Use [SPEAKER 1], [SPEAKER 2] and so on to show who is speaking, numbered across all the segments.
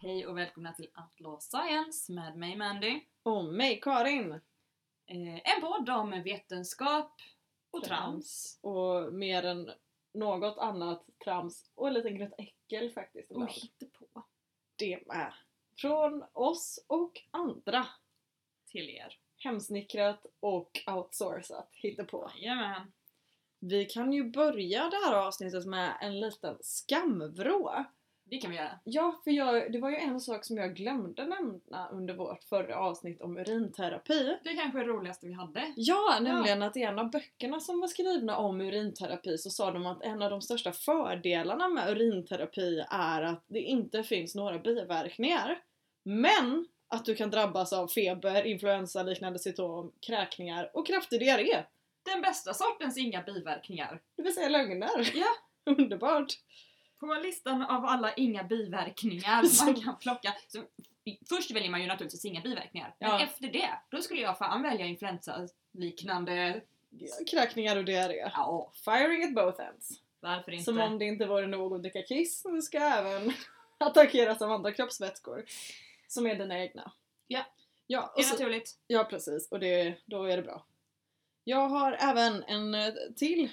[SPEAKER 1] Hej och välkomna till Outlaw Science med mig Mandy.
[SPEAKER 2] Och mig Karin!
[SPEAKER 1] Eh, en podd om vetenskap och
[SPEAKER 2] Trams.
[SPEAKER 1] trams.
[SPEAKER 2] Och mer än något annat trams och en liten grött äckel faktiskt.
[SPEAKER 1] Och
[SPEAKER 2] ibland.
[SPEAKER 1] hittepå
[SPEAKER 2] Det med. Från oss och andra.
[SPEAKER 1] till er.
[SPEAKER 2] Hemsnickrat och outsourcat på.
[SPEAKER 1] Jajamän.
[SPEAKER 2] Vi kan ju börja det här avsnittet med en liten skamvrå.
[SPEAKER 1] Det kan vi göra.
[SPEAKER 2] Ja, för jag, det var ju en sak som jag glömde nämna under vårt förra avsnitt om urinterapi.
[SPEAKER 1] Det är kanske det roligaste vi hade.
[SPEAKER 2] Ja, nämligen att i en av böckerna som var skrivna om urinterapi så sa de att en av de största fördelarna med urinterapi är att det inte finns några biverkningar. Men att du kan drabbas av feber, influensa, liknande symptom, kräkningar och kraftig diarré.
[SPEAKER 1] Den bästa sortens inga biverkningar.
[SPEAKER 2] Det vill säga lögner.
[SPEAKER 1] Ja.
[SPEAKER 2] Underbart!
[SPEAKER 1] På listan av alla inga biverkningar man
[SPEAKER 2] Som-
[SPEAKER 1] kan plocka. Så, först väljer man ju naturligtvis inga biverkningar. Men
[SPEAKER 2] Ja.
[SPEAKER 1] efter det, då skulle jag fan välja influensaliknande...
[SPEAKER 2] Kräkningar och diarré.
[SPEAKER 1] Ja,
[SPEAKER 2] Firing at both ends.
[SPEAKER 1] varför inte?
[SPEAKER 2] Som om det inte vore nog att dricka kiss, nu ska jag även attackeras av andra kroppsvätskor. Som är dina egna.
[SPEAKER 1] Ja.
[SPEAKER 2] Ja,
[SPEAKER 1] Det
[SPEAKER 2] och
[SPEAKER 1] är
[SPEAKER 2] så,
[SPEAKER 1] naturligt.
[SPEAKER 2] ja precis. Och det, då är det bra. Jag har även en eh, till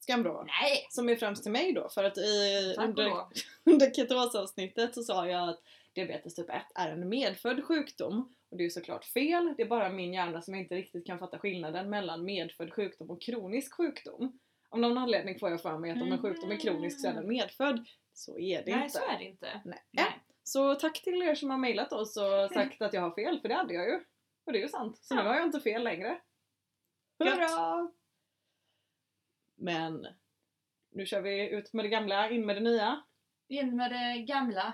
[SPEAKER 2] skamvrå.
[SPEAKER 1] Nej!
[SPEAKER 2] Som är främst till mig då, för att i,
[SPEAKER 1] Tack och
[SPEAKER 2] under,
[SPEAKER 1] lov.
[SPEAKER 2] under ketosavsnittet så sa jag att diabetes typ 1 är en medfödd sjukdom. Och det är ju såklart fel, det är bara min hjärna som inte riktigt kan fatta skillnaden mellan medfödd sjukdom och kronisk sjukdom. Av någon anledning får jag för mig att om en sjukdom är kronisk så är den medfödd. Så är det
[SPEAKER 1] Nej,
[SPEAKER 2] inte.
[SPEAKER 1] så är det inte.
[SPEAKER 2] Nej.
[SPEAKER 1] Nej.
[SPEAKER 2] Så tack till er som har mejlat oss och sagt att jag har fel, för det hade jag ju. Och det är ju sant. Så
[SPEAKER 1] Ja.
[SPEAKER 2] nu har jag inte fel längre. Hurra! Men nu kör vi ut med det gamla, in med det nya.
[SPEAKER 1] In med det gamla.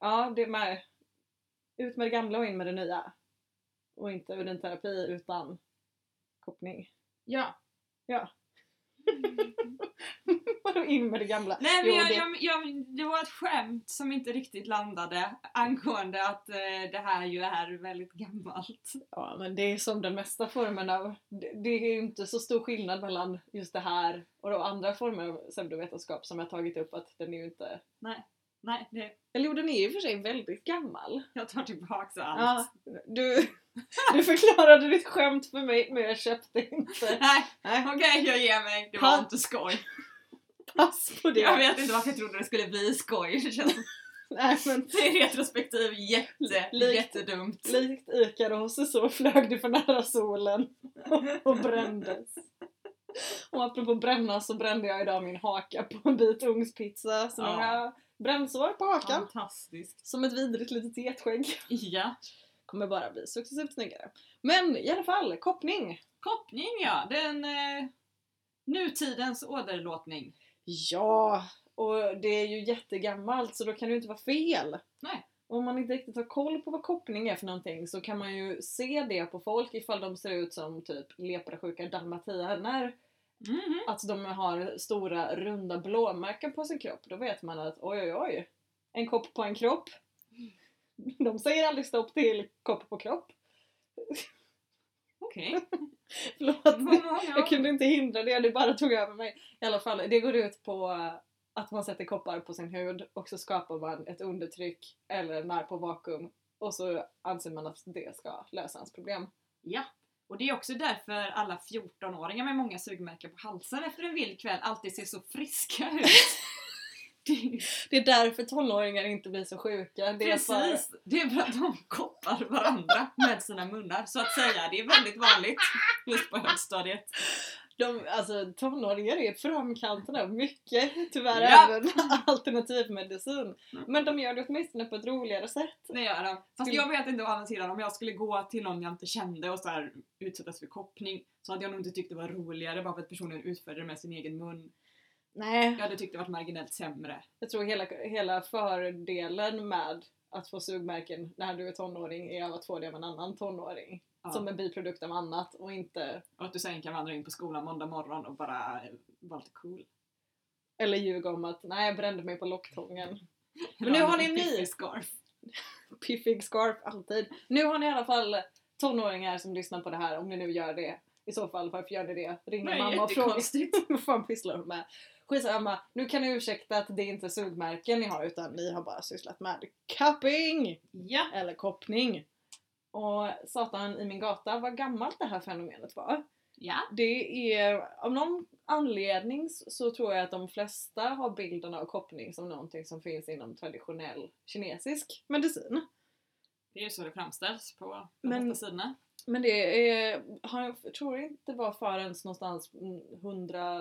[SPEAKER 2] Ja, det med. Ut med det gamla och in med det nya. Och inte urinterapi utan koppling.
[SPEAKER 1] Ja. Mm.
[SPEAKER 2] Vadå in med det gamla?
[SPEAKER 1] Nej men
[SPEAKER 2] Jo,
[SPEAKER 1] jag,
[SPEAKER 2] det-
[SPEAKER 1] jag, jag, det var ett skämt som inte riktigt landade angående att eh, det här ju är väldigt gammalt.
[SPEAKER 2] Ja, men det är som den mesta formen av... Det, det är ju inte så stor skillnad mellan just det här och då andra former av pseudovetenskap som jag tagit upp att den är ju inte...
[SPEAKER 1] Nej, det,
[SPEAKER 2] Eller jo, den är ju i och för sig väldigt gammal.
[SPEAKER 1] jag tar tillbaka
[SPEAKER 2] Ja,
[SPEAKER 1] allt.
[SPEAKER 2] du, du förklarade ditt skämt för mig men jag köpte inte.
[SPEAKER 1] Nej,
[SPEAKER 2] Nej,
[SPEAKER 1] okej jag ger mig. Det var
[SPEAKER 2] Ha.
[SPEAKER 1] inte skoj.
[SPEAKER 2] pass på
[SPEAKER 1] Jag
[SPEAKER 2] det.
[SPEAKER 1] vet inte varför jag trodde det skulle bli skoj. Det känns
[SPEAKER 2] Nej, men
[SPEAKER 1] i retrospektiv jätte,
[SPEAKER 2] Likt-
[SPEAKER 1] jättedumt.
[SPEAKER 2] Likt Ikaros så flög du för nära solen och brändes. Och apropå bränna så brände jag idag min haka på en bit ugnspizza. Så
[SPEAKER 1] Ja.
[SPEAKER 2] några brännsår på hakan.
[SPEAKER 1] Fantastiskt.
[SPEAKER 2] Som ett vidrigt litet getskägg.
[SPEAKER 1] Ja.
[SPEAKER 2] Kommer bara bli successivt snyggare. Men i alla fall, koppning!
[SPEAKER 1] Koppning ja, den eh, nutidens åderlåtning.
[SPEAKER 2] Ja! Och det är ju jättegammalt så då kan det ju inte vara fel.
[SPEAKER 1] Nej.
[SPEAKER 2] Om man inte riktigt har koll på vad koppling är för någonting så kan man ju se det på folk ifall de ser ut som typ leprasjuka dalmatiner.
[SPEAKER 1] Mhm.
[SPEAKER 2] att de har stora runda blåmärken på sin kropp, då vet man att oj oj oj, en kopp på en kropp. De säger aldrig stopp till kopp på kropp.
[SPEAKER 1] Okej.
[SPEAKER 2] Förlåt,
[SPEAKER 1] Ja, ja.
[SPEAKER 2] jag kunde inte hindra det, det bara tog över mig. I alla fall, det går ut på att man sätter koppar på sin hud och så skapar man ett undertryck eller när på vakuum och så anser man att det ska lösa ens problem.
[SPEAKER 1] Ja, och det är också därför alla 14-åringar med många sugmärken på halsen efter en vild kväll alltid ser så friska ut. Det-
[SPEAKER 2] Det är därför tonåringar inte blir så sjuka. Det är för-
[SPEAKER 1] Precis! Det är för att de koppar varandra med sina munnar, så att säga. Det är väldigt vanligt just på högstadiet.
[SPEAKER 2] De, alltså tonåringar är framkanten av mycket, tyvärr
[SPEAKER 1] Ja.
[SPEAKER 2] även alternativmedicin. Men de gör det åtminstone på ett roligare sätt.
[SPEAKER 1] Det gör de. Fast
[SPEAKER 2] Skulle-
[SPEAKER 1] jag vet inte å andra sidan, om jag skulle gå till någon jag inte kände och så här utsättas för koppning så hade jag nog inte tyckt det var roligare bara för att personen utförde det med sin egen mun.
[SPEAKER 2] Nej.
[SPEAKER 1] Jag hade tyckt det varit marginellt sämre.
[SPEAKER 2] Jag tror hela, hela fördelen med att få sugmärken när du är tonåring är av att få det av en annan tonåring.
[SPEAKER 1] Ja.
[SPEAKER 2] Som en biprodukt av annat och inte,
[SPEAKER 1] Och att du sen kan vandra in på skolan måndag morgon och bara eh, vara lite cool.
[SPEAKER 2] eller ljuga om att nej jag brände mig på locktången. Men nu har ni en ny.
[SPEAKER 1] scarf.
[SPEAKER 2] Piffig scarf alltid. Nu har ni i alla fall tonåringar som lyssnar på det här om ni nu gör det. I så fall varför gör ni det? Ring
[SPEAKER 1] Nej,
[SPEAKER 2] mamma och fråga.
[SPEAKER 1] jättekonstigt.
[SPEAKER 2] Vad fan pysslar hon med? Skitsamma, nu kan ni ursäkta att det inte är sugmärken ni har utan ni har bara sysslat med cupping!
[SPEAKER 1] Ja.
[SPEAKER 2] Eller koppning. Och satan i min gata vad gammalt det här fenomenet var.
[SPEAKER 1] Ja.
[SPEAKER 2] Det är, av någon anledning så tror jag att de flesta har bilden av koppning som någonting som finns inom traditionell kinesisk medicin.
[SPEAKER 1] Det är ju så det framställs på de
[SPEAKER 2] Men-
[SPEAKER 1] flesta sidorna.
[SPEAKER 2] Men det är, har jag- jag tror inte det var förrän någonstans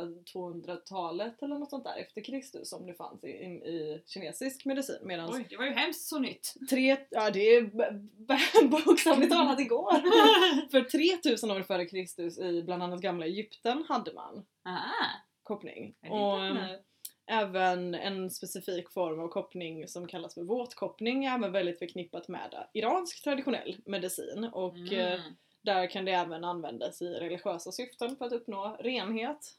[SPEAKER 2] 100-200-talet eller något sånt där efter Kristus som det fanns i, i, i kinesisk medicin. Medan
[SPEAKER 1] Oj, Alltså, det var ju hemskt så nytt.
[SPEAKER 2] tre, ja det är b- b- bokstavligt talat igår! För 3000 år före Kristus i bland annat gamla Egypten hade man
[SPEAKER 1] ah,
[SPEAKER 2] koppling.
[SPEAKER 1] jag vet
[SPEAKER 2] Och
[SPEAKER 1] inte.
[SPEAKER 2] eh, även en specifik form av koppling som kallas för våtkoppning är även väldigt förknippat med eh, iransk traditionell medicin och eh,
[SPEAKER 1] mm.
[SPEAKER 2] där kan det även användas i religiösa syften för att uppnå renhet.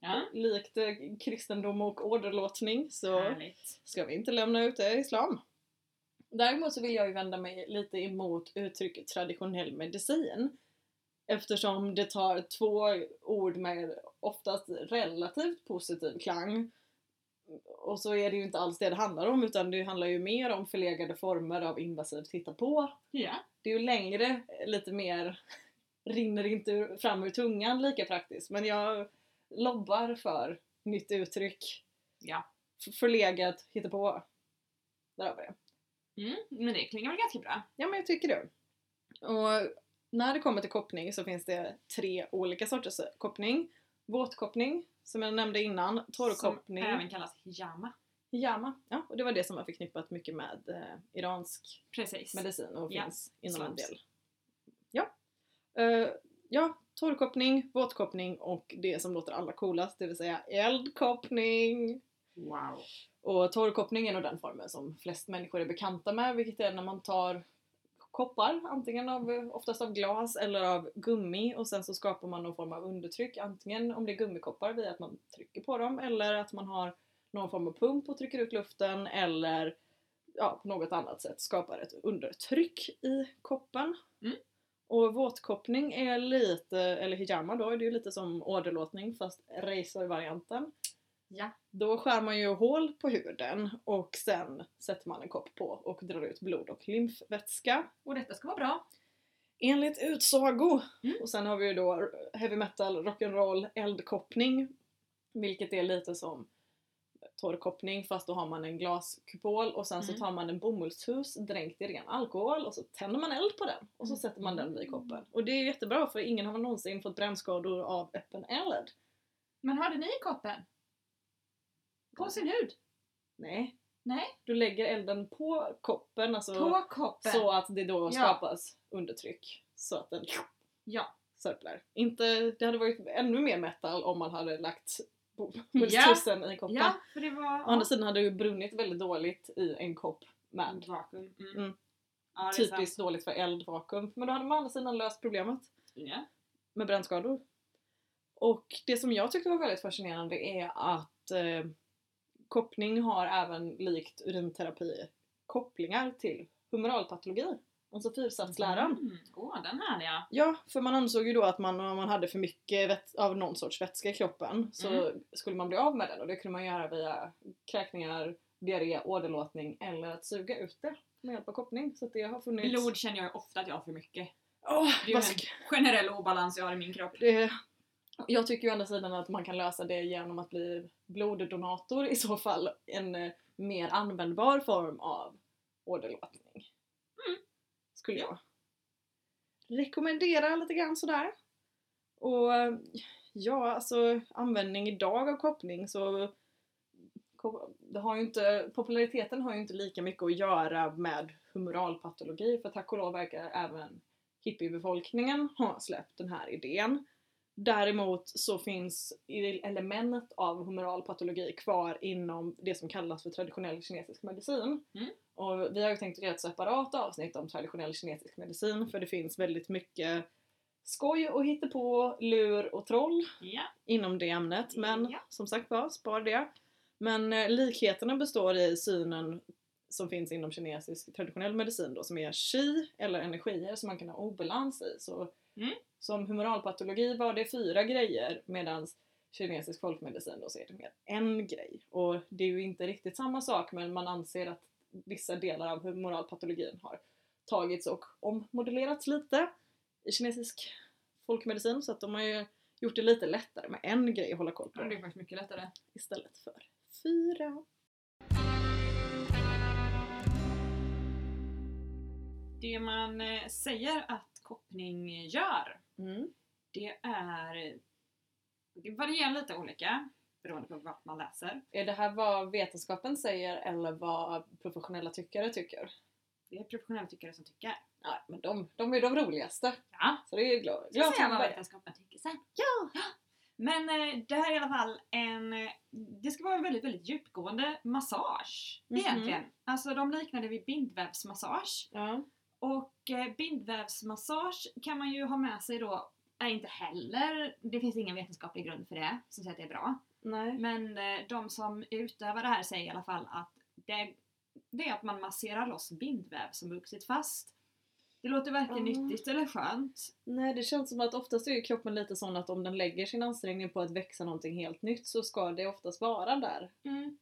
[SPEAKER 1] Ja,
[SPEAKER 2] Likt eh, kristendom och åderlåtning så
[SPEAKER 1] härligt.
[SPEAKER 2] ska vi inte lämna ut det islam. Däremot så vill jag ju vända mig lite emot uttrycket traditionell medicin. Eftersom det tar två ord med oftast relativt positiv klang. Och så är det ju inte alls det det handlar om utan det handlar ju mer om förlegade former av invasivt hitta på
[SPEAKER 1] Ja.
[SPEAKER 2] det är ju längre, eh, lite mer, rinner inte ur- fram ur tungan lika praktiskt. Men jag lobbar för nytt uttryck.
[SPEAKER 1] Ja.
[SPEAKER 2] F- Förlegat, hitta på. Där har vi det.
[SPEAKER 1] Mm, men det klingar väl ganska bra.
[SPEAKER 2] Ja men jag tycker det. Och när det kommer till koppning så finns det tre olika sorters eh, koppning. Våtkoppning, som jag nämnde innan, torrkoppning.
[SPEAKER 1] Som även kallas hijama.
[SPEAKER 2] Jama. Ja, och det var det som var förknippat mycket med eh, iransk
[SPEAKER 1] Precis.
[SPEAKER 2] medicin och
[SPEAKER 1] Ja,
[SPEAKER 2] finns inom en
[SPEAKER 1] slams.
[SPEAKER 2] del. Ja. Eh, ja, torrkoppning, våtkoppning och det som låter allra coolast, det vill säga eldkoppning.
[SPEAKER 1] Wow.
[SPEAKER 2] Och torrkoppning är nog den formen som flest människor är bekanta med, vilket är när man tar koppar, antingen av, oftast av glas eller av gummi och sen så skapar man någon form av undertryck, antingen om det är gummikoppar via att man trycker på dem eller att man har någon form av pump och trycker ut luften eller ja, på något annat sätt skapar ett undertryck i koppen.
[SPEAKER 1] Mm.
[SPEAKER 2] Och våtkoppning är lite, eller hijama då, det är ju lite som åderlåtning fast racer-varianten.
[SPEAKER 1] Ja.
[SPEAKER 2] Då skär man ju hål på huden och sen sätter man en kopp på och drar ut blod och lymfvätska.
[SPEAKER 1] Och detta ska vara bra.
[SPEAKER 2] Enligt utsago!
[SPEAKER 1] Mm.
[SPEAKER 2] Och sen har vi ju då heavy metal, rock'n'roll, eldkoppning. Vilket är lite som torrkoppning fast då har man en glaskupol och sen så
[SPEAKER 1] Mm.
[SPEAKER 2] tar man en bomullshus dränkt i ren alkohol och så tänder man eld på den och så
[SPEAKER 1] Mm.
[SPEAKER 2] sätter man den vid koppen. Och det är jättebra för ingen har någonsin fått brännskador av öppen eld.
[SPEAKER 1] Men hade ni koppen? På sin hud?
[SPEAKER 2] Nej.
[SPEAKER 1] Nej.
[SPEAKER 2] Du lägger elden på koppen, alltså
[SPEAKER 1] På koppen?
[SPEAKER 2] Så att det då
[SPEAKER 1] Ja.
[SPEAKER 2] skapas undertryck. Så att den
[SPEAKER 1] Ja.
[SPEAKER 2] sörplar. Inte, det hade varit ännu mer metal om man hade lagt bomullstussen i koppen.
[SPEAKER 1] Ja, för det var...
[SPEAKER 2] Å andra sidan hade det ju brunnit väldigt dåligt i en kopp med
[SPEAKER 1] Vakuum. Mm.
[SPEAKER 2] Mm.
[SPEAKER 1] Ja, det är sant.
[SPEAKER 2] typiskt dåligt för eldvakuum. Men då hade man å andra sidan löst problemet
[SPEAKER 1] Ja.
[SPEAKER 2] med brännskador. Och det som jag tyckte var väldigt fascinerande är att eh, koppning har även likt urinterapi kopplingar till humoralpatologi, alltså fyrsatsläran.
[SPEAKER 1] Mm. Åh, den härliga.
[SPEAKER 2] Ja, för man ansåg ju då att man, om man hade för mycket vät- av någon sorts vätska i kroppen så
[SPEAKER 1] Mm.
[SPEAKER 2] skulle man bli av med den och det kunde man göra via kräkningar, diarré, åderlåtning eller att suga ut det med hjälp av koppling. Så att det har funnits...
[SPEAKER 1] Blod känner jag ju ofta att jag har för mycket.
[SPEAKER 2] Åh,
[SPEAKER 1] Det är
[SPEAKER 2] vad
[SPEAKER 1] ju
[SPEAKER 2] sk-
[SPEAKER 1] en generell obalans jag har i min kropp.
[SPEAKER 2] det, jag tycker ju å andra sidan att man kan lösa det genom att bli bloddonator i så fall. En eh, mer användbar form av åderlåtning. Skulle jag rekommendera lite grann sådär. Och eh, ja, alltså användning idag av koppling så ko- det har ju inte, populariteten har ju inte lika mycket att göra med humoralpatologi för tack och lov verkar även hippiebefolkningen ha släppt den här idén. Däremot så finns i- element av humoral patologi kvar inom det som kallas för traditionell kinesisk medicin.
[SPEAKER 1] Mm.
[SPEAKER 2] Och vi har ju tänkt att göra ett separat avsnitt om traditionell kinesisk medicin för det finns väldigt mycket skoj och hittepå, lur och troll
[SPEAKER 1] Ja.
[SPEAKER 2] inom det ämnet. Men
[SPEAKER 1] Ja.
[SPEAKER 2] som sagt var, spar det. Men eh, likheterna består i synen som finns inom kinesisk traditionell medicin då som är qi eller energier som man kan ha obalans i. Så
[SPEAKER 1] Mm.
[SPEAKER 2] som humoralpatologi var det fyra grejer medan kinesisk folkmedicin då så är det mer en grej. Och det är ju inte riktigt samma sak men man anser att vissa delar av humoralpatologin har tagits och ommodellerats lite i kinesisk folkmedicin så att de har ju gjort det lite lättare med en grej att hålla koll
[SPEAKER 1] Ja,
[SPEAKER 2] på
[SPEAKER 1] det är faktiskt mycket lättare.
[SPEAKER 2] istället för fyra.
[SPEAKER 1] Det man eh, säger att koppning gör,
[SPEAKER 2] Mm.
[SPEAKER 1] det är... Det varierar lite olika beroende på vad man läser.
[SPEAKER 2] Är det här vad vetenskapen säger eller vad professionella tyckare tycker?
[SPEAKER 1] Det är professionella tyckare som tycker.
[SPEAKER 2] Ja, men de, de är de roligaste.
[SPEAKER 1] Ja,
[SPEAKER 2] Så det är ju glad,
[SPEAKER 1] Ska
[SPEAKER 2] glad
[SPEAKER 1] säga vad
[SPEAKER 2] jag
[SPEAKER 1] vetenskapen tycker sen. Ja! Men eh, det här är i alla fall en... eh, Det ska vara en väldigt, väldigt djupgående massage.
[SPEAKER 2] Mhm.
[SPEAKER 1] Egentligen. Alltså de liknar det vid bindvävsmassage.
[SPEAKER 2] ja.
[SPEAKER 1] Och eh, bindvävsmassage kan man ju ha med sig då är inte heller, det finns ingen vetenskaplig grund för det som säger att det är bra.
[SPEAKER 2] Nej.
[SPEAKER 1] Men eh, de som utövar det här säger i alla fall att det, det är att man masserar loss bindväv som vuxit fast. Det låter varken
[SPEAKER 2] Ah.
[SPEAKER 1] nyttigt eller skönt.
[SPEAKER 2] Nej, det känns som att oftast är ju kroppen lite sån att om den lägger sin ansträngning på att växa någonting helt nytt så ska det oftast vara där.
[SPEAKER 1] Mm.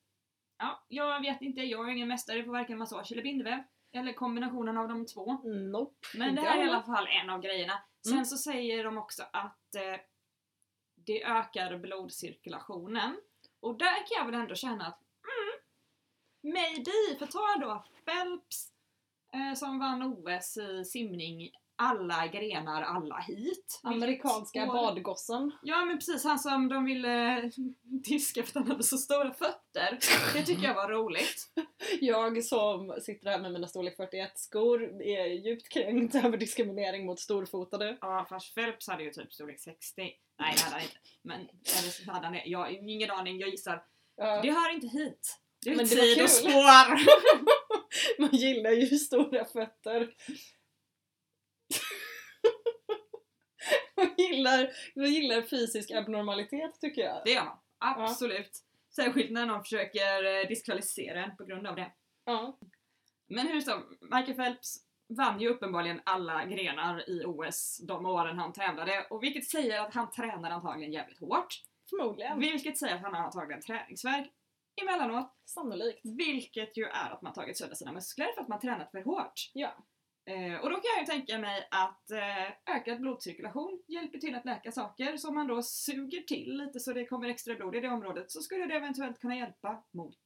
[SPEAKER 1] Ja, jag vet inte, jag är ingen mästare på varken massage eller bindväv. Eller kombinationen av de två.
[SPEAKER 2] Nope.
[SPEAKER 1] Men det här är i
[SPEAKER 2] Ja.
[SPEAKER 1] alla fall en av grejerna. Sen
[SPEAKER 2] Mm.
[SPEAKER 1] så säger de också att eh, det ökar blodcirkulationen. Och där kan jag väl ändå känna att mm, maybe, för ta då Phelps eh, som vann OS i simning alla grenar, alla hit.
[SPEAKER 2] Amerikanska
[SPEAKER 1] Vilket år-
[SPEAKER 2] badgossen.
[SPEAKER 1] Ja men precis, han som de ville diska för att han hade så stora fötter. Det tycker jag var roligt.
[SPEAKER 2] Jag som sitter här med mina storlek 41 skor är djupt kränkt över diskriminering mot storfotade.
[SPEAKER 1] Ja fast Phelps hade ju typ storlek 60. Nej det hade han inte. Men eller så hade han det. Jag har ingen aning, jag gissar.
[SPEAKER 2] Ja,
[SPEAKER 1] Det hör inte hit. Det är
[SPEAKER 2] Men det var
[SPEAKER 1] tid
[SPEAKER 2] kul.
[SPEAKER 1] och spår.
[SPEAKER 2] Man gillar ju stora fötter. man, gillar, man gillar fysisk abnormalitet tycker jag.
[SPEAKER 1] Det gör man. Absolut. Särskilt när någon försöker eh, diskvalificera en på grund av det.
[SPEAKER 2] Ja.
[SPEAKER 1] Men hur som, Michael Phelps vann ju uppenbarligen alla grenar i OS de åren han tävlade. Och vilket säger att han tränar antagligen jävligt hårt.
[SPEAKER 2] Förmodligen.
[SPEAKER 1] Vilket säger att han har antagligen träningsvärk emellanåt.
[SPEAKER 2] Sannolikt.
[SPEAKER 1] Vilket ju är att man tagit sönder sina muskler för att man tränat för hårt.
[SPEAKER 2] Ja.
[SPEAKER 1] Eh, och då kan jag ju tänka mig att eh, ökad blodcirkulation hjälper till att läka saker. Så om man då suger till lite så det kommer extra blod i det området så skulle det eventuellt kunna hjälpa mot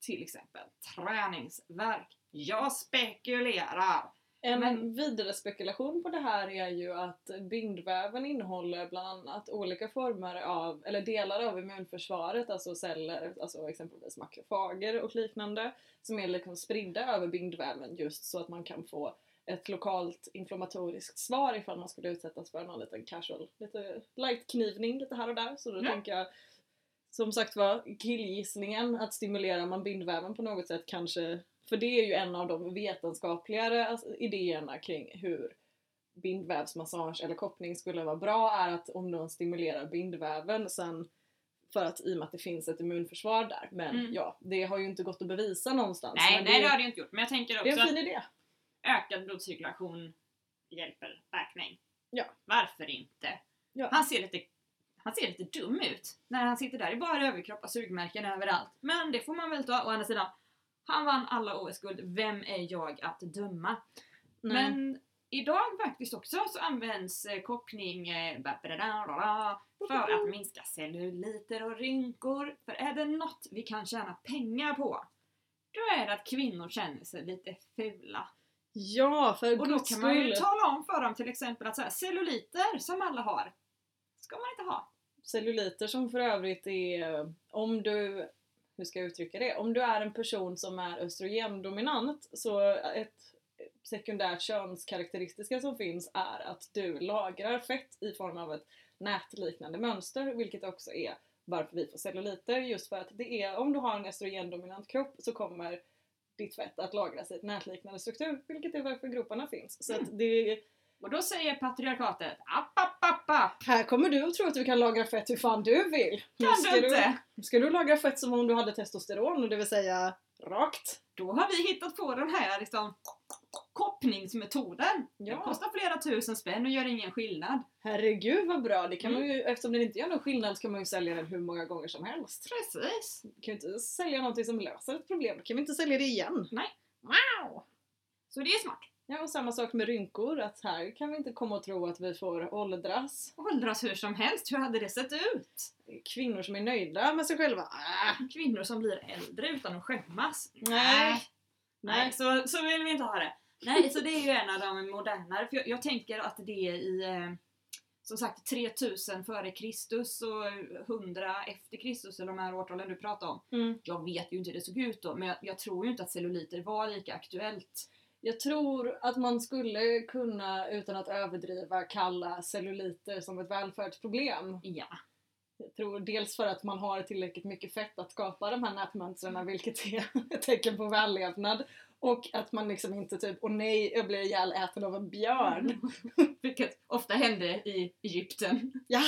[SPEAKER 1] till exempel träningsvärk. Jag spekulerar!
[SPEAKER 2] En
[SPEAKER 1] Men-
[SPEAKER 2] vidare spekulation på det här är ju att bindväven innehåller bland annat olika former av, eller delar av immunförsvaret, alltså celler, alltså exempelvis makrofager och liknande, som är liksom spridda över bindväven just så att man kan få ett lokalt inflammatoriskt svar ifall man skulle utsättas för någon liten casual, lite light knivning lite här och där. Så då
[SPEAKER 1] Ja.
[SPEAKER 2] tänker jag som sagt var, killgissningen att stimulerar man bindväven på något sätt kanske, för det är ju en av de vetenskapligare alltså, idéerna kring hur bindvävsmassage eller koppling skulle vara bra är att om någon stimulerar bindväven sen för att i och med att det finns ett immunförsvar där. Men
[SPEAKER 1] Mm.
[SPEAKER 2] ja, det har ju inte gått att bevisa någonstans.
[SPEAKER 1] nej,
[SPEAKER 2] Alltså, men
[SPEAKER 1] nej
[SPEAKER 2] det,
[SPEAKER 1] det
[SPEAKER 2] är,
[SPEAKER 1] har det ju inte gjort. Men jag tänker
[SPEAKER 2] det är
[SPEAKER 1] också
[SPEAKER 2] en
[SPEAKER 1] att
[SPEAKER 2] fin idé.
[SPEAKER 1] ökad blodcirkulation hjälper läkning.
[SPEAKER 2] Ja.
[SPEAKER 1] Varför inte?
[SPEAKER 2] Ja.
[SPEAKER 1] Han, ser lite, han ser lite dum ut när han sitter där i bara överkropp och sugmärken överallt. Men det får man väl ta. Å andra sidan, han vann alla OS-guld. Vem är jag att döma?
[SPEAKER 2] Men
[SPEAKER 1] Men idag faktiskt också så används eh, koppling eh, ba- ba- da- da- da- da, för att minska celluliter och rynkor. För är det något vi kan tjäna pengar på, då är det att kvinnor känner sig lite fula.
[SPEAKER 2] ja, för
[SPEAKER 1] Och då
[SPEAKER 2] guds
[SPEAKER 1] kan man ju
[SPEAKER 2] skull.
[SPEAKER 1] tala om för dem till exempel att så här, celluliter som alla har, ska man inte ha.
[SPEAKER 2] celluliter som för övrigt är, om du, hur ska jag uttrycka det, om du är en person som är östrogendominant så ett sekundärt könskaraktäristiska som finns är att du lagrar fett i form av ett nätliknande mönster vilket också är varför vi får celluliter just för att det är, om du har en östrogendominant kropp så kommer ditt fett att lagras i ett nätliknande struktur vilket är varför groparna finns. Så att det,
[SPEAKER 1] Och då säger patriarkatet app, app, app, app.
[SPEAKER 2] här kommer du och tror att du kan lagra fett hur fan du vill! Nu
[SPEAKER 1] Kan
[SPEAKER 2] ska
[SPEAKER 1] du inte?
[SPEAKER 2] Ska du lagra fett som om du hade testosteron, och det vill säga rakt?
[SPEAKER 1] Då har vi hittat på den här liksom koppningsmetoden.
[SPEAKER 2] Ja.
[SPEAKER 1] Den kostar flera tusen spänn och gör ingen skillnad.
[SPEAKER 2] Herregud vad bra! Det kan
[SPEAKER 1] Mm.
[SPEAKER 2] man ju, eftersom den inte gör någon skillnad så kan man ju sälja den hur många gånger som helst.
[SPEAKER 1] Precis.
[SPEAKER 2] Vi kan ju inte sälja någonting som löser ett problem. Kan vi inte sälja det igen?
[SPEAKER 1] Så det är smart.
[SPEAKER 2] Ja, och samma sak med rynkor. Att här kan vi inte komma och tro att vi får åldras.
[SPEAKER 1] Åldras hur som helst, hur hade det sett ut?
[SPEAKER 2] Kvinnor som är nöjda med sig själva. Ah,
[SPEAKER 1] Kvinnor som blir äldre utan att skämmas.
[SPEAKER 2] Nej.
[SPEAKER 1] Nej,
[SPEAKER 2] nej.
[SPEAKER 1] så, så vill vi inte ha det. Nej, så det är ju en av de modernare. För jag, jag tänker att det är i eh, som sagt 3000 före Kristus och 100 efter Kristus, eller de här årtalen du pratar om.
[SPEAKER 2] Mm.
[SPEAKER 1] Jag vet ju inte hur det såg ut då, men jag, jag tror ju inte att celluliter var lika aktuellt.
[SPEAKER 2] Jag tror att man skulle kunna, utan att överdriva, kalla celluliter som ett välfärdsproblem.
[SPEAKER 1] Ja.
[SPEAKER 2] Jag tror dels för att man har tillräckligt mycket fett att skapa de här
[SPEAKER 1] Mm.
[SPEAKER 2] nätmönstren vilket är ett tecken på vällevnad. Och att man liksom inte typ, åh nej, jag blir ihjäläten av en
[SPEAKER 1] Mm.
[SPEAKER 2] björn.
[SPEAKER 1] Vilket ofta hände i Egypten.
[SPEAKER 2] Ja,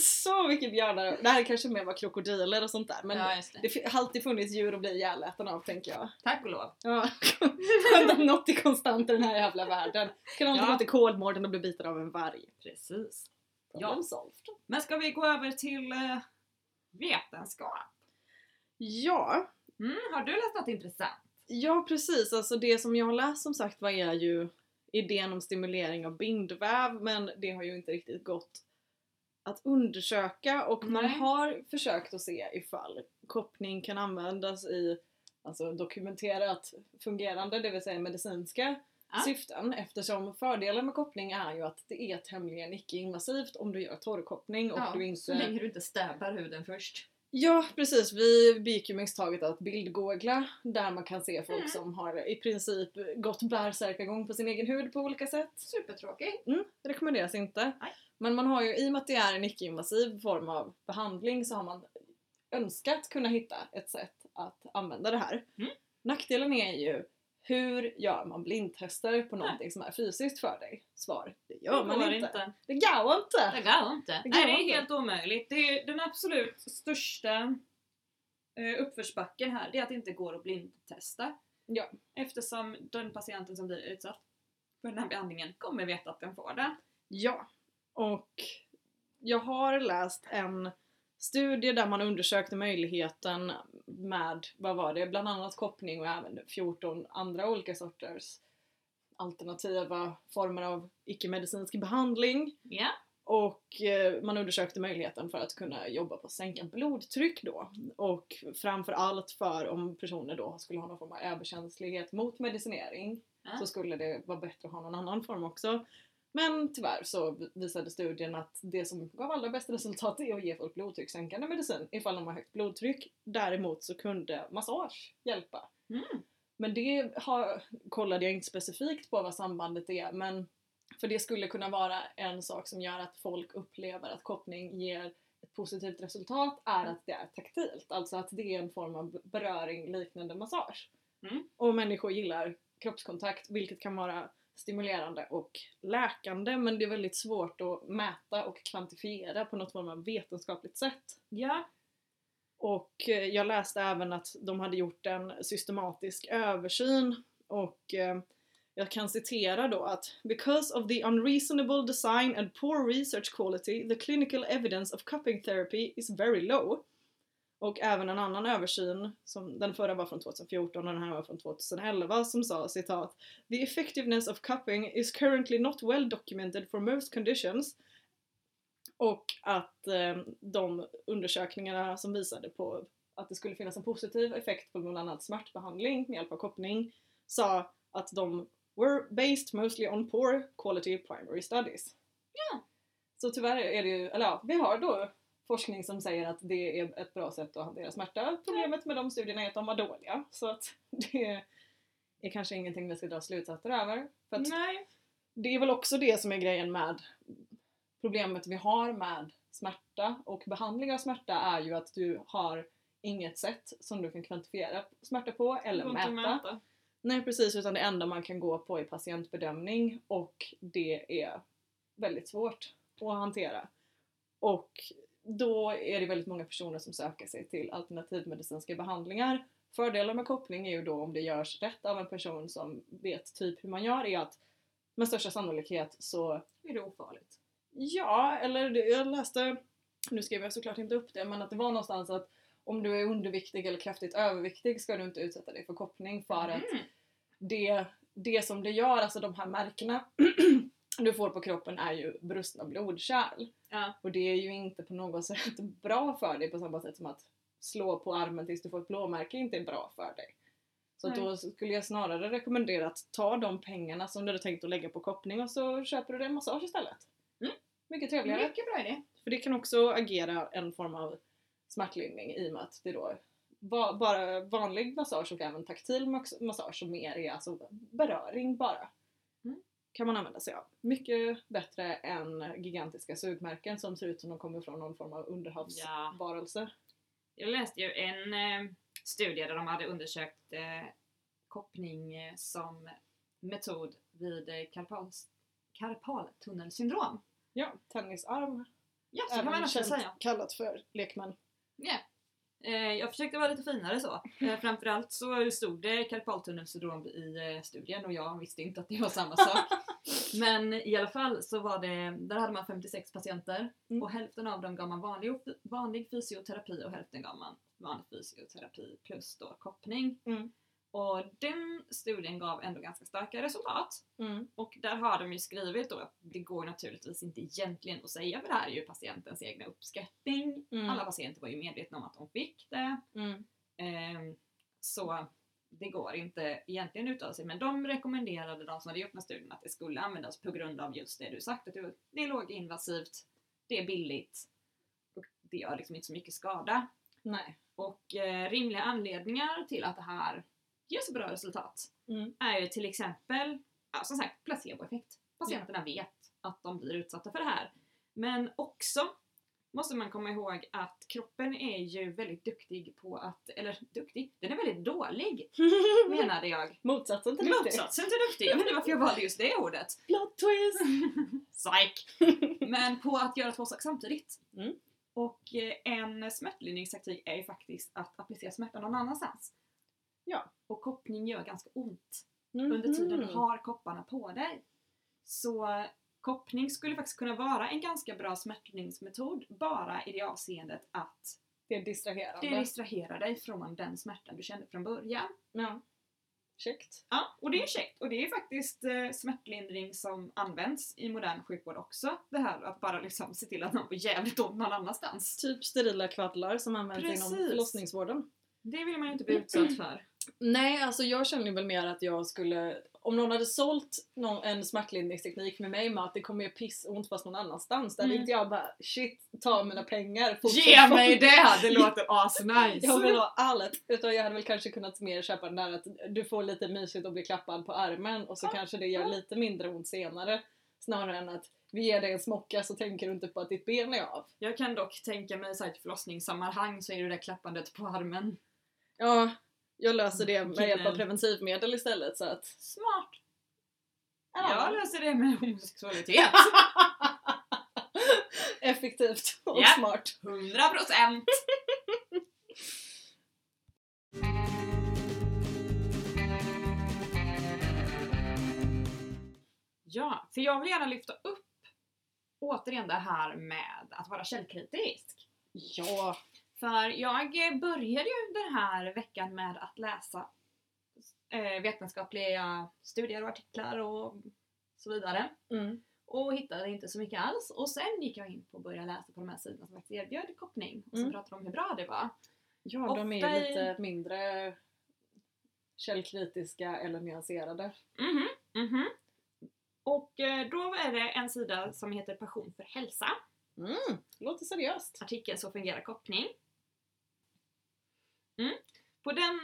[SPEAKER 2] så mycket björnar! Det här kanske mer var krokodiler och sånt där men
[SPEAKER 1] just
[SPEAKER 2] det fi- har alltid funnits djur att bli ihjäläten av tänker jag.
[SPEAKER 1] Tack och lov.
[SPEAKER 2] Ja. Skönt att något är konstant i den här jävla världen. Kan alltid
[SPEAKER 1] Ja.
[SPEAKER 2] gå till Kolmården och bli biten av en varg.
[SPEAKER 1] Precis.
[SPEAKER 2] Problem
[SPEAKER 1] Ja.
[SPEAKER 2] solved.
[SPEAKER 1] Men ska vi gå över till eh, vetenskap?
[SPEAKER 2] Ja,
[SPEAKER 1] Mm, har du läst något intressant?
[SPEAKER 2] Ja precis, alltså det som jag har läst som sagt var är ju idén om stimulering av bindväv men det har ju inte riktigt gått att undersöka och man
[SPEAKER 1] Nej.
[SPEAKER 2] har försökt att se ifall koppling kan användas i alltså dokumenterat fungerande, det vill säga medicinska
[SPEAKER 1] Ja.
[SPEAKER 2] syften eftersom fördelen med koppling är ju att det är tämligen icke-invasivt om du gör torrkoppling och du
[SPEAKER 1] så
[SPEAKER 2] inte
[SPEAKER 1] länge du inte stäbar huden först.
[SPEAKER 2] Ja precis, vi begick ju misstaget att bildgoogla där man kan se folk
[SPEAKER 1] Mm.
[SPEAKER 2] som har i princip gått bärsärkagång på sin egen hud på olika sätt.
[SPEAKER 1] Supertråkigt.
[SPEAKER 2] Mm, det rekommenderas inte.
[SPEAKER 1] Nej.
[SPEAKER 2] Men man har ju, i och med att det är en icke-invasiv form av behandling så har man önskat kunna hitta ett sätt att använda det här.
[SPEAKER 1] Mm.
[SPEAKER 2] Nackdelen är ju hur gör man blindtester på någonting som är fysiskt för dig? Svar, det gör man inte. Det går inte!
[SPEAKER 1] Det går inte.
[SPEAKER 2] Det
[SPEAKER 1] Nej,
[SPEAKER 2] går
[SPEAKER 1] det är
[SPEAKER 2] inte.
[SPEAKER 1] helt omöjligt. Det är den absolut största eh, uppförsbacken här, det är att det inte går att blindtesta.
[SPEAKER 2] Ja.
[SPEAKER 1] Eftersom den patienten som blir utsatt för den här behandlingen kommer veta att den får det.
[SPEAKER 2] Ja, och jag har läst en studie där man undersökte möjligheten med, vad var det, bland annat koppling och även 14 andra olika sorters alternativa former av icke-medicinsk behandling.
[SPEAKER 1] Ja.
[SPEAKER 2] Och eh, man undersökte möjligheten för att kunna jobba på att sänka blodtryck då. Och framförallt för om personer då skulle ha någon form av överkänslighet mot medicinering
[SPEAKER 1] Ja.
[SPEAKER 2] så skulle det vara bättre att ha någon annan form också. Men tyvärr så vi- visade studien att det som gav allra bäst resultat är att ge folk blodtryckssänkande medicin ifall de har högt blodtryck. Däremot så kunde massage hjälpa.
[SPEAKER 1] Mm.
[SPEAKER 2] Men det har, kollade jag inte specifikt på vad sambandet är men för det skulle kunna vara en sak som gör att folk upplever att koppling ger ett positivt resultat är att det är taktilt, alltså att det är en form av beröring liknande massage.
[SPEAKER 1] Mm.
[SPEAKER 2] Och människor gillar kroppskontakt vilket kan vara stimulerande och läkande men det är väldigt svårt att mäta och kvantifiera på något form av vetenskapligt sätt.
[SPEAKER 1] Ja.
[SPEAKER 2] Och eh, jag läste även att de hade gjort en systematisk översyn och eh, jag kan citera då att Because of the unreasonable design and poor research quality the clinical evidence of cupping therapy is very low. Och även en annan översyn, som den förra var från 2014 och den här var från 2011, som sa citat The effectiveness of cupping is currently not well documented for most conditions och att eh, de undersökningarna som visade på att det skulle finnas en positiv effekt på bland annat smärtbehandling med hjälp av koppling sa att de were based mostly on poor quality primary studies.
[SPEAKER 1] Ja.
[SPEAKER 2] Så tyvärr är det ju, eller ja, vi har då forskning som säger att det är ett bra sätt att hantera smärta. Problemet med de studierna är att de var dåliga. Så att det är kanske ingenting vi ska dra slutsatser över. För att
[SPEAKER 1] Nej.
[SPEAKER 2] det är väl också det som är grejen med problemet vi har med smärta och behandling av smärta är ju att du har inget sätt som du kan kvantifiera smärta på eller
[SPEAKER 1] går inte
[SPEAKER 2] mäta.
[SPEAKER 1] att mäta.
[SPEAKER 2] Nej precis, utan det enda man kan gå på är patientbedömning och det är väldigt svårt att hantera. Och då är det väldigt många personer som söker sig till alternativmedicinska behandlingar Fördelen med koppling är ju då om det görs rätt av en person som vet typ hur man gör är att med största sannolikhet så
[SPEAKER 1] Är det ofarligt?
[SPEAKER 2] Ja, eller det- jag läste, nu skrev jag såklart inte upp det, men att det var någonstans att om du är underviktig eller kraftigt överviktig ska du inte utsätta dig för koppling för att
[SPEAKER 1] Mm.
[SPEAKER 2] det, det som det gör, alltså de här märkena du får på kroppen är ju brustna blodkärl.
[SPEAKER 1] Ja.
[SPEAKER 2] Och det är ju inte på något sätt bra för dig på samma sätt som att slå på armen tills du får ett blåmärke inte är bra för dig. Så att
[SPEAKER 1] Nej.
[SPEAKER 2] då skulle jag snarare rekommendera att ta de pengarna som du hade tänkt att lägga på koppling och så köper du dig en massage istället.
[SPEAKER 1] Mm.
[SPEAKER 2] Mycket trevligare.
[SPEAKER 1] Mycket bra idé.
[SPEAKER 2] För det kan också agera en form av smärtlindring i och med att det då va- bara vanlig massage och även taktil max- massage som mer är alltså beröring bara.
[SPEAKER 1] Mm.
[SPEAKER 2] Kan man använda sig av. Mycket bättre än gigantiska sugmärken som ser ut som de kommer från någon form av
[SPEAKER 1] Ja.
[SPEAKER 2] underhavsvarelse.
[SPEAKER 1] Jag läste ju en eh, studie där de hade undersökt eh, koppling eh, som metod vid eh, karpals, karpaltunnelsyndrom.
[SPEAKER 2] Ja, tennisarm.
[SPEAKER 1] Ja, så kan man
[SPEAKER 2] även
[SPEAKER 1] också
[SPEAKER 2] känt,
[SPEAKER 1] säga.
[SPEAKER 2] kallat för lekman.
[SPEAKER 1] Ja. Eh, jag försökte vara lite finare så. Eh, framförallt så stod det karpaltunnelsyndrom i eh, studien och jag visste inte att det var samma sak. Men i alla fall så var det, där hade man 56 patienter
[SPEAKER 2] Mm.
[SPEAKER 1] och hälften av dem gav man vanlig, vanlig fysioterapi och hälften gav man vanlig fysioterapi plus då koppling.
[SPEAKER 2] Mm.
[SPEAKER 1] Och den studien gav ändå ganska starka resultat.
[SPEAKER 2] Mm.
[SPEAKER 1] Och där har de ju skrivit då att det går naturligtvis inte egentligen att säga för det här är ju patientens egna uppskattning.
[SPEAKER 2] Mm.
[SPEAKER 1] Alla patienter var ju medvetna om att de fick det.
[SPEAKER 2] Mm.
[SPEAKER 1] Ehm, Så det går inte egentligen att uttala sig. Men de rekommenderade de som hade gjort den här studien att det skulle användas på grund av just det du sagt. Att det- det är låginvasivt, det är billigt och det gör liksom inte så mycket skada.
[SPEAKER 2] Nej.
[SPEAKER 1] Och eh, rimliga anledningar till att det här ger så bra resultat
[SPEAKER 2] Mm.
[SPEAKER 1] är ju till exempel, ja, som sagt, placeboeffekt. Patienterna vet att de blir utsatta för det här. Men också måste man komma ihåg att kroppen är ju väldigt duktig på att, eller duktig, den är väldigt dålig
[SPEAKER 2] Mm.
[SPEAKER 1] menade jag.
[SPEAKER 2] Motsatsen till riktigt.
[SPEAKER 1] Motsatsen till duktig, jag vet inte varför jag valde just det ordet.
[SPEAKER 2] Plot twist!
[SPEAKER 1] Psyk! Men på att göra två saker samtidigt.
[SPEAKER 2] Mm.
[SPEAKER 1] Och eh, en smärtlindringstaktik är ju faktiskt att applicera smärtan någon annanstans.
[SPEAKER 2] Ja.
[SPEAKER 1] Och koppling gör ganska ont
[SPEAKER 2] Mhm.
[SPEAKER 1] under tiden du har kopparna på dig. Så eh, koppling skulle faktiskt kunna vara en ganska bra smärtlindringsmetod bara i det avseendet att
[SPEAKER 2] Det är distraherande.
[SPEAKER 1] det distraherar dig från den smärtan du kände från början.
[SPEAKER 2] Ja. Käckt.
[SPEAKER 1] Ja, och det är käckt. Och det är faktiskt eh, smärtlindring som används i modern sjukvård också. Det här att bara liksom se till att någon får jävligt ont någon annanstans.
[SPEAKER 2] Typ sterila kvaddlar som används inom
[SPEAKER 1] Precis.
[SPEAKER 2] förlossningsvården.
[SPEAKER 1] Det vill man ju inte bli utsatt för.
[SPEAKER 2] Nej, alltså jag känner väl mer att jag skulle... Om någon hade sålt någon, en smärtlindringsteknik med mig med att det kommer göra pissont fast någon annanstans, där
[SPEAKER 1] Mm.
[SPEAKER 2] hade inte jag bara shit, ta mina pengar, fortsätt
[SPEAKER 1] Ge
[SPEAKER 2] få-
[SPEAKER 1] mig det! Det låter asnice!
[SPEAKER 2] Jag vill ha allt! Utan jag hade väl kanske kunnat mer köpa den där att du får lite mysigt och blir klappad på armen och så
[SPEAKER 1] Ja,
[SPEAKER 2] kanske det gör
[SPEAKER 1] ja.
[SPEAKER 2] lite mindre ont senare. Snarare än att vi ger dig en smocka så tänker du inte på att ditt ben är av.
[SPEAKER 1] Jag kan dock tänka mig så här, i ett förlossningssammanhang så är det det där klappandet på armen.
[SPEAKER 2] Ja, jag löser det med
[SPEAKER 1] Killen.
[SPEAKER 2] hjälp av preventivmedel istället så att...
[SPEAKER 1] Smart! Jag
[SPEAKER 2] Ja,
[SPEAKER 1] löser det med homosexualitet.
[SPEAKER 2] effektivt och
[SPEAKER 1] Ja.
[SPEAKER 2] smart.
[SPEAKER 1] 100%! Ja, för jag vill gärna lyfta upp återigen det här med att vara källkritisk.
[SPEAKER 2] Ja.
[SPEAKER 1] För jag började ju den här veckan med att läsa eh, vetenskapliga studier och artiklar och så vidare
[SPEAKER 2] Mm.
[SPEAKER 1] och hittade inte så mycket alls. Och sen gick jag in på att börja läsa på de här sidorna som faktiskt erbjöd koppling och så
[SPEAKER 2] Mm.
[SPEAKER 1] pratade de om hur bra det var.
[SPEAKER 2] Ja, de är
[SPEAKER 1] Ofta
[SPEAKER 2] ju
[SPEAKER 1] i-
[SPEAKER 2] lite mindre källkritiska eller nyanserade.
[SPEAKER 1] Mhm, mhm. Och eh, då är det en sida som heter Passion för hälsa,
[SPEAKER 2] Mm. Låter seriöst.
[SPEAKER 1] artikeln Så fungerar koppling. Mm. På den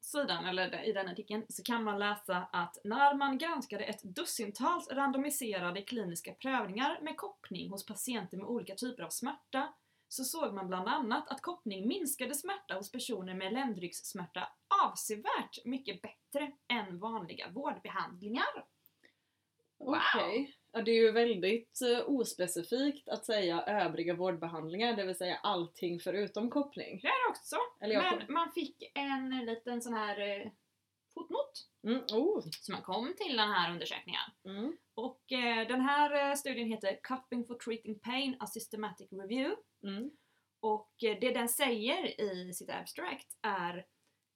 [SPEAKER 1] sidan, eller i den artikeln, så kan man läsa att när man granskade ett dussintals randomiserade kliniska prövningar med koppling hos patienter med olika typer av smärta så såg man bland annat att koppling minskade smärta hos personer med ländryggssmärta avsevärt mycket bättre än vanliga vårdbehandlingar.
[SPEAKER 2] Okej. Ja, det är ju väldigt eh, ospecifikt att säga övriga vårdbehandlingar, det vill säga allting förutom koppling.
[SPEAKER 1] Det är också.
[SPEAKER 2] Eller jag
[SPEAKER 1] Men man fick en liten sån här eh, fotnot.
[SPEAKER 2] Mm, oh.
[SPEAKER 1] Så man kom till den här undersökningen.
[SPEAKER 2] mm.
[SPEAKER 1] Och eh, den här eh, studien heter Cupping for Treating Pain, A Systematic Review.
[SPEAKER 2] Mm.
[SPEAKER 1] Och eh, det den säger i sitt abstract är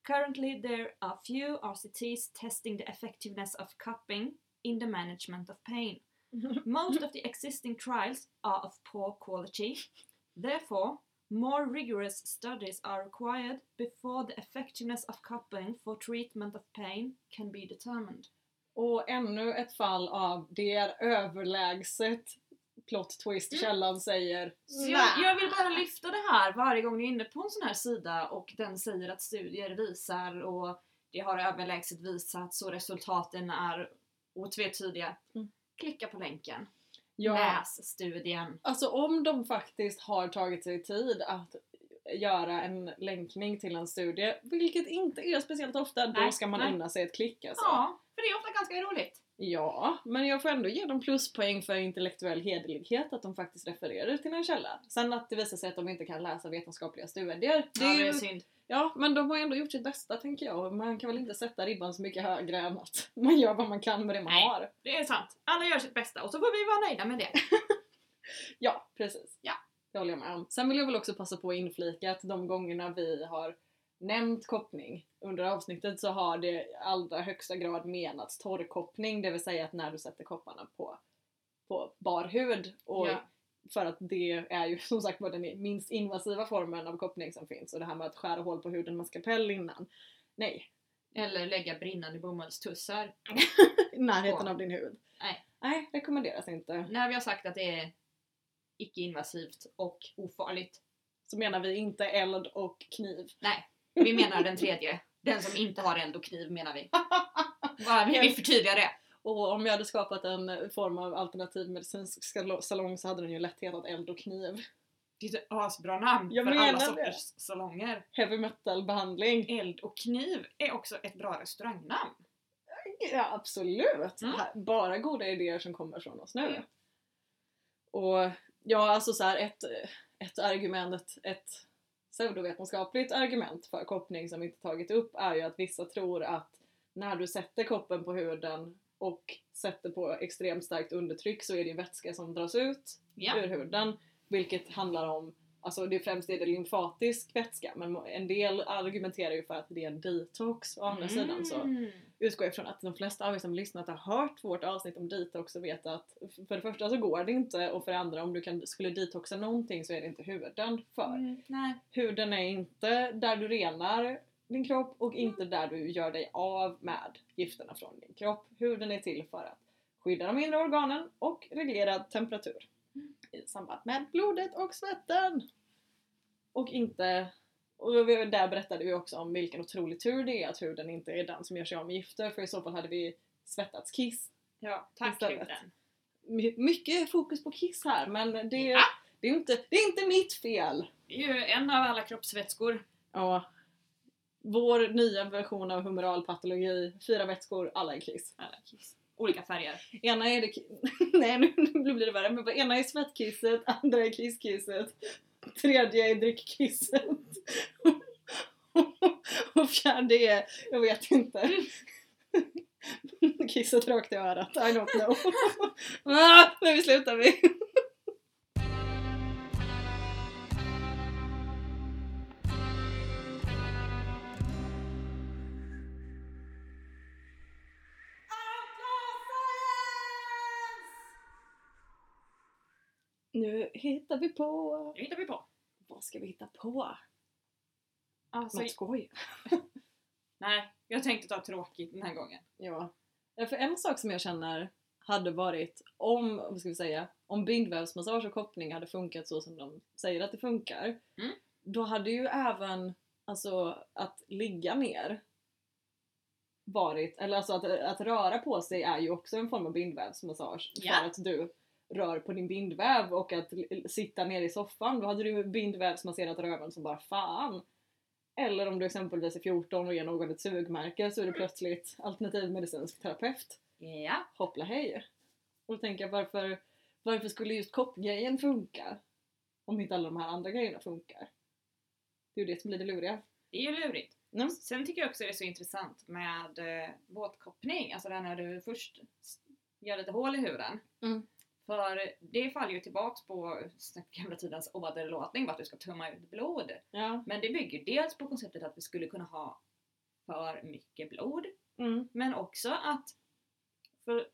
[SPEAKER 1] Currently there are few RCTs testing the effectiveness of cupping in the management of pain. Most of the existing trials are of poor quality. Therefore, more rigorous studies are required before the effectiveness of cupping for treatment of pain can be determined.
[SPEAKER 2] Och ännu ett fall av det är överlägset plot twist
[SPEAKER 1] Mm.
[SPEAKER 2] källan säger.
[SPEAKER 1] Så jag, jag vill bara lyfta det här varje gång ni är inne på en sån här sida och den säger att studier visar och det har överlägset visats och resultaten är otvetydiga.
[SPEAKER 2] Mm.
[SPEAKER 1] Klicka på länken.
[SPEAKER 2] Ja.
[SPEAKER 1] Läs studien.
[SPEAKER 2] Alltså om de faktiskt har tagit sig tid att göra en länkning till en studie, vilket inte är speciellt ofta, då
[SPEAKER 1] Nej,
[SPEAKER 2] ska man
[SPEAKER 1] nej.
[SPEAKER 2] unna sig ett klick alltså.
[SPEAKER 1] Ja, för det är ofta ganska roligt.
[SPEAKER 2] Ja, men jag får ändå ge dem pluspoäng för intellektuell hederlighet att de faktiskt refererar till en källa. Sen att det visar sig att de inte kan läsa vetenskapliga studier. Det
[SPEAKER 1] ja,
[SPEAKER 2] är
[SPEAKER 1] det är
[SPEAKER 2] ju,
[SPEAKER 1] synd.
[SPEAKER 2] ja, men de har ändå gjort sitt bästa tänker jag. Och Man kan väl inte sätta ribban så mycket högre än att man gör vad man kan med det man
[SPEAKER 1] Nej.
[SPEAKER 2] har.
[SPEAKER 1] Det är sant. Alla gör sitt bästa och så får vi vara nöjda med det.
[SPEAKER 2] Ja, precis.
[SPEAKER 1] Ja.
[SPEAKER 2] Det håller jag med om. Sen vill jag väl också passa på att inflika att de gångerna vi har nämnt koppling under avsnittet så har det i allra högsta grad menats torrkoppling, det vill säga att när du sätter kopparna på, på bar hud. Och
[SPEAKER 1] Ja.
[SPEAKER 2] För att det är ju som sagt var den minst invasiva formen av koppling som finns och det här med att skära hål på huden med skapell innan. Nej,
[SPEAKER 1] Eller lägga brinnande bomullstussar.
[SPEAKER 2] i närheten
[SPEAKER 1] På.
[SPEAKER 2] av din hud.
[SPEAKER 1] Nej.
[SPEAKER 2] Nej, rekommenderas inte.
[SPEAKER 1] När vi har sagt att det är icke-invasivt och ofarligt.
[SPEAKER 2] Så menar vi inte eld och kniv.
[SPEAKER 1] Vi menar den tredje. Den som inte har eld och kniv menar vi. Bara vi vill förtydliga det.
[SPEAKER 2] Och om jag hade skapat en form av alternativ medicinsk skalo- salong så hade den ju lätt hetat eld och kniv.
[SPEAKER 1] Det är ett asbra namn
[SPEAKER 2] Jag
[SPEAKER 1] för
[SPEAKER 2] menar
[SPEAKER 1] alla
[SPEAKER 2] det.
[SPEAKER 1] sorters salonger.
[SPEAKER 2] Heavy metal behandling.
[SPEAKER 1] Eld och kniv är också ett bra restaurangnamn.
[SPEAKER 2] Ja absolut!
[SPEAKER 1] Mm.
[SPEAKER 2] Här- Bara goda idéer som kommer från oss nu.
[SPEAKER 1] Mm.
[SPEAKER 2] Och ja, alltså så här ett, ett argument, ett, ett pseudovetenskapligt argument för koppling som vi inte tagit upp är ju att vissa tror att när du sätter koppen på huden och sätter på extremt starkt undertryck så är det vätska som dras ut
[SPEAKER 1] Ja.
[SPEAKER 2] ur huden. Vilket handlar om, alltså det främst är det lymfatisk vätska men en del argumenterar ju för att det är en detox. Å andra sidan så
[SPEAKER 1] Mm.
[SPEAKER 2] utgår jag ifrån att de flesta av er som lyssnat har hört vårt avsnitt om detox och vet att för det första så går det inte och för det andra om du kan, skulle detoxa någonting så är det inte huden för.
[SPEAKER 1] Mm, nej.
[SPEAKER 2] Huden är inte där du renar din kropp och inte där du gör dig av med gifterna från din kropp. Huden är till för att skydda de inre organen och reglera temperatur i samband med blodet och svetten. Och inte... Och vi- där berättade vi också om vilken otrolig tur det är att huden inte är den som gör sig av med gifter för i så fall hade vi svettats kiss.
[SPEAKER 1] Ja, tack
[SPEAKER 2] Istället.
[SPEAKER 1] huden.
[SPEAKER 2] My- mycket fokus på kiss här men det,
[SPEAKER 1] Ja.
[SPEAKER 2] det, är, ju inte, det är inte mitt fel!
[SPEAKER 1] Det är ju en av alla kroppsvätskor.
[SPEAKER 2] Ja. Vår nya version av humoral patologi. Fyra vätskor, alla är kiss.
[SPEAKER 1] Alla kiss. Olika färger.
[SPEAKER 2] Ena är det... ki- Nej nu nu blir det värre. Men ena är svettkisset, andra är kisskisset. Tredje är drickkisset. Och fjärde är... Jag vet inte. Kisset rakt i örat. I don't know. ah, nu slutar vi. Nu hittar vi på...
[SPEAKER 1] Det hittar vi på.
[SPEAKER 2] Vad ska vi hitta på?
[SPEAKER 1] Alltså,
[SPEAKER 2] Något skoj.
[SPEAKER 1] nej, jag tänkte ta tråkigt den här gången.
[SPEAKER 2] Ja. Ja, För en sak som jag känner hade varit om, vad ska vi säga, om bindvävsmassage och koppling hade funkat så som de säger att det funkar.
[SPEAKER 1] Mm.
[SPEAKER 2] Då hade ju även alltså, att ligga ner varit, eller alltså att, att röra på sig är ju också en form av bindvävsmassage.
[SPEAKER 1] Ja.
[SPEAKER 2] För att du rör på din bindväv och att l- sitta ner i soffan, då hade du bindvävsmasserat röven som bara fan. Eller om du exempelvis är 14 och ger någon ett sugmärke så är du plötsligt alternativmedicinsk terapeut.
[SPEAKER 1] Ja.
[SPEAKER 2] Hoppla hej! Och då tänker jag varför, varför skulle just koppgrejen funka? Om inte alla de här andra grejerna funkar. Det är ju det som blir det luriga.
[SPEAKER 1] Det är ju lurigt.
[SPEAKER 2] Mm.
[SPEAKER 1] Sen tycker jag också det är så intressant med eh, båtkoppning, alltså det här när du först s- gör lite hål i huden.
[SPEAKER 2] Mm.
[SPEAKER 1] För det faller ju tillbaks på den gamla tidens åderlåtning, att du ska tömma ut blod.
[SPEAKER 2] Ja.
[SPEAKER 1] Men det bygger dels på konceptet att vi skulle kunna ha för mycket blod,
[SPEAKER 2] Mm.
[SPEAKER 1] men också att för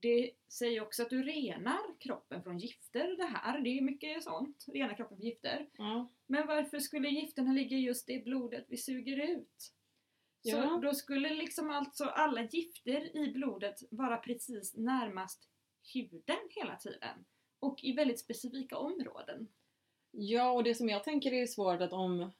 [SPEAKER 1] det säger också att du renar kroppen från gifter det här. Det är mycket sånt, rena kroppen från gifter.
[SPEAKER 2] ja.
[SPEAKER 1] Men varför skulle gifterna ligga just i blodet vi suger ut? Så
[SPEAKER 2] Ja.
[SPEAKER 1] då skulle liksom alltså alla gifter i blodet vara precis närmast huden hela tiden. Och i väldigt specifika områden.
[SPEAKER 2] Ja, och det som jag tänker är svårt att om...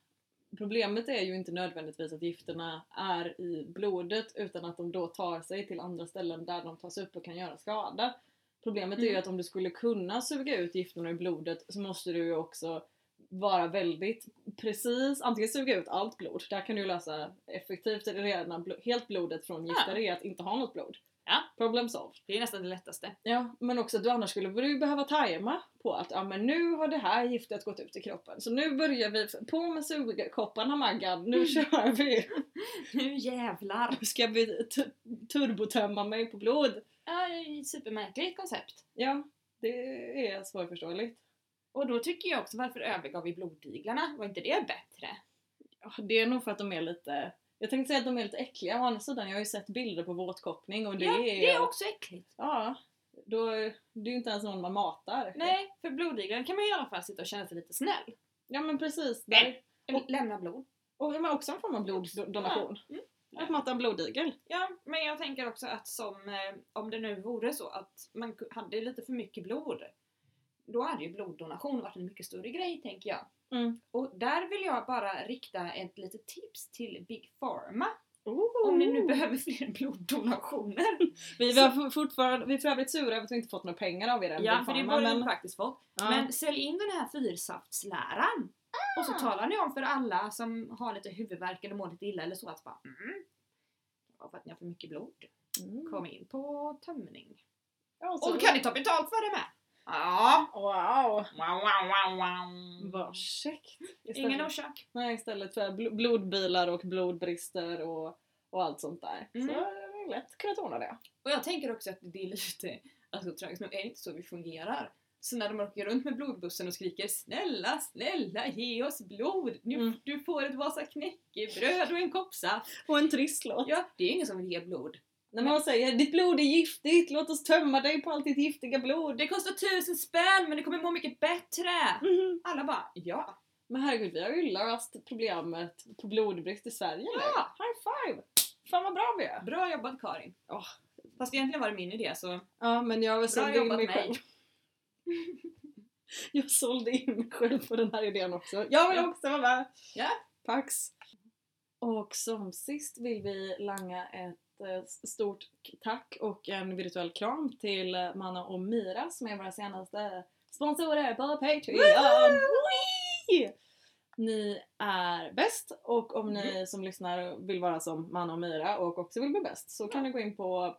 [SPEAKER 2] Problemet är ju inte nödvändigtvis att gifterna är i blodet utan att de då tar sig till andra ställen där de tas upp och kan göra skada. Problemet är ju
[SPEAKER 1] Mm.
[SPEAKER 2] att om du skulle kunna suga ut gifterna i blodet så måste du ju också vara väldigt precis, antingen suga ut allt blod, där kan du ju lösa effektivt rena bl- helt blodet från gifter är att inte ha något blod.
[SPEAKER 1] Ja.
[SPEAKER 2] Problem solved.
[SPEAKER 1] Det är nästan det lättaste.
[SPEAKER 2] Ja, men också att du annars skulle du behöva tajma på att ja, men nu har det här giftet gått ut i kroppen. Så nu börjar vi, på med sugkopparna Maggan, nu
[SPEAKER 1] Mm.
[SPEAKER 2] kör vi!
[SPEAKER 1] Nu jävlar!
[SPEAKER 2] Ska vi t- turbotömma mig på blod?
[SPEAKER 1] Ja, det är ett supermärkligt koncept.
[SPEAKER 2] Ja, det är svårförståeligt.
[SPEAKER 1] Och då tycker jag också, varför övergav vi blodiglarna? Var inte det bättre?
[SPEAKER 2] Ja, Det är nog för att de är lite, jag tänkte säga att de är lite äckliga, å andra sidan jag har ju sett bilder på våtkoppning och det
[SPEAKER 1] ja,
[SPEAKER 2] är...
[SPEAKER 1] det är också äckligt.
[SPEAKER 2] Ja, då, det är ju inte ens någon man matar.
[SPEAKER 1] Nej, för blodiglarna kan man i alla fall sitta och känna sig lite snäll.
[SPEAKER 2] Ja men precis. Där.
[SPEAKER 1] Nej. Och lämna blod.
[SPEAKER 2] Och men också en form av bloddonation.
[SPEAKER 1] Ja, mm.
[SPEAKER 2] Att mata en blodigel.
[SPEAKER 1] Ja, men jag tänker också att som, eh, om det nu vore så att man ku- hade lite för mycket blod, då hade ju bloddonation varit en mycket större grej, tänker jag.
[SPEAKER 2] Mm.
[SPEAKER 1] Och där vill jag bara rikta ett litet tips till Big Pharma, om ni nu behöver fler bloddonationer.
[SPEAKER 2] Vi, vi, har fortfarande, vi är för övrigt sura över att vi inte fått några pengar av er än.
[SPEAKER 1] ja, för det
[SPEAKER 2] Big
[SPEAKER 1] borde
[SPEAKER 2] Pharma,
[SPEAKER 1] ni
[SPEAKER 2] men,
[SPEAKER 1] faktiskt fått.
[SPEAKER 2] ja.
[SPEAKER 1] Men sälj in den här fyrsaftsläran! Och så talar ni om för alla som har lite huvudvärk eller mår lite illa eller så att bara mm, det var för att ni har för mycket blod.
[SPEAKER 2] Mm.
[SPEAKER 1] Kom in på tömning.
[SPEAKER 2] Ja, så-
[SPEAKER 1] Och då kan ni ta betalt för det med! Ja!
[SPEAKER 2] Wow!
[SPEAKER 1] Wow, wow, wow, wow.
[SPEAKER 2] Vad käckt! Istället,
[SPEAKER 1] Ingen orsak.
[SPEAKER 2] Mm. nej, istället för bl- blodbilar och blodbrister och, och allt sånt där.
[SPEAKER 1] Mm.
[SPEAKER 2] Så det är lätt att kunna ordna det.
[SPEAKER 1] Och jag tänker också att det är lite, alltså tragiskt nog är det inte så vi fungerar. Så när de åker runt med blodbussen och skriker Snälla, snälla ge oss blod! Nu,
[SPEAKER 2] Mm.
[SPEAKER 1] Du får ett Vasa knäckebröd och en kopp saft.
[SPEAKER 2] Och en trisslåt.
[SPEAKER 1] Ja, det är ingen som vill ge blod.
[SPEAKER 2] När man säger ditt blod är giftigt, låt oss tömma dig på allt ditt giftiga blod.
[SPEAKER 1] Det kostar tusen spänn men du kommer må mycket bättre!
[SPEAKER 2] Mhm.
[SPEAKER 1] Alla bara ja.
[SPEAKER 2] Men herregud, vi har ju löst problemet på blodbrist i Sverige nu.
[SPEAKER 1] Ja.
[SPEAKER 2] High five! Fan vad bra vi är!
[SPEAKER 1] Bra jobbat Karin.
[SPEAKER 2] Ja.
[SPEAKER 1] Fast egentligen var det min idé så
[SPEAKER 2] Ja, men jag sålde in
[SPEAKER 1] jobbat,
[SPEAKER 2] mig
[SPEAKER 1] mig.
[SPEAKER 2] själv. Jag sålde in mig själv på den här idén också. Jag vill
[SPEAKER 1] Ja.
[SPEAKER 2] också vara med!
[SPEAKER 1] Ja.
[SPEAKER 2] Pax! Och som sist vill vi langa ett eh, stort tack och en virtuell kram till eh, Manna och Mira som är våra senaste sponsorer på Patreon! Wee! Ni är bäst och om ni som lyssnar vill vara som Manna och Mira och också vill bli bäst så kan ni gå in på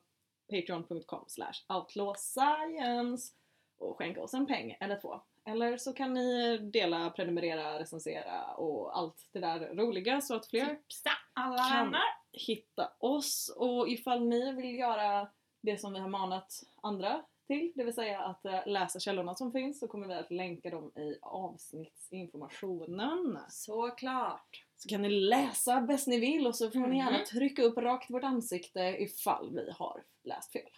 [SPEAKER 2] patreon.com slash outlawscience och skänka oss en peng eller två. Eller så kan ni dela, prenumerera, recensera och allt det där roliga så att fler
[SPEAKER 1] tipsa alla
[SPEAKER 2] Kan.
[SPEAKER 1] andra.
[SPEAKER 2] hitta oss och ifall ni vill göra det som vi har manat andra till, det vill säga att eh, läsa källorna som finns så kommer vi att länka dem i avsnittsinformationen.
[SPEAKER 1] Såklart.
[SPEAKER 2] Så kan ni läsa bäst ni vill och så får ni gärna
[SPEAKER 1] Mhm.
[SPEAKER 2] trycka upp rakt vårt ansikte ifall vi har läst fel.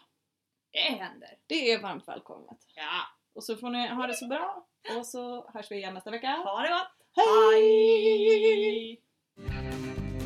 [SPEAKER 1] Det händer.
[SPEAKER 2] Det är varmt välkommet.
[SPEAKER 1] Ja.
[SPEAKER 2] Och så får ni ha det så bra och så hörs vi igen nästa vecka.
[SPEAKER 1] Ha det gott!
[SPEAKER 2] Hej!
[SPEAKER 1] Hej!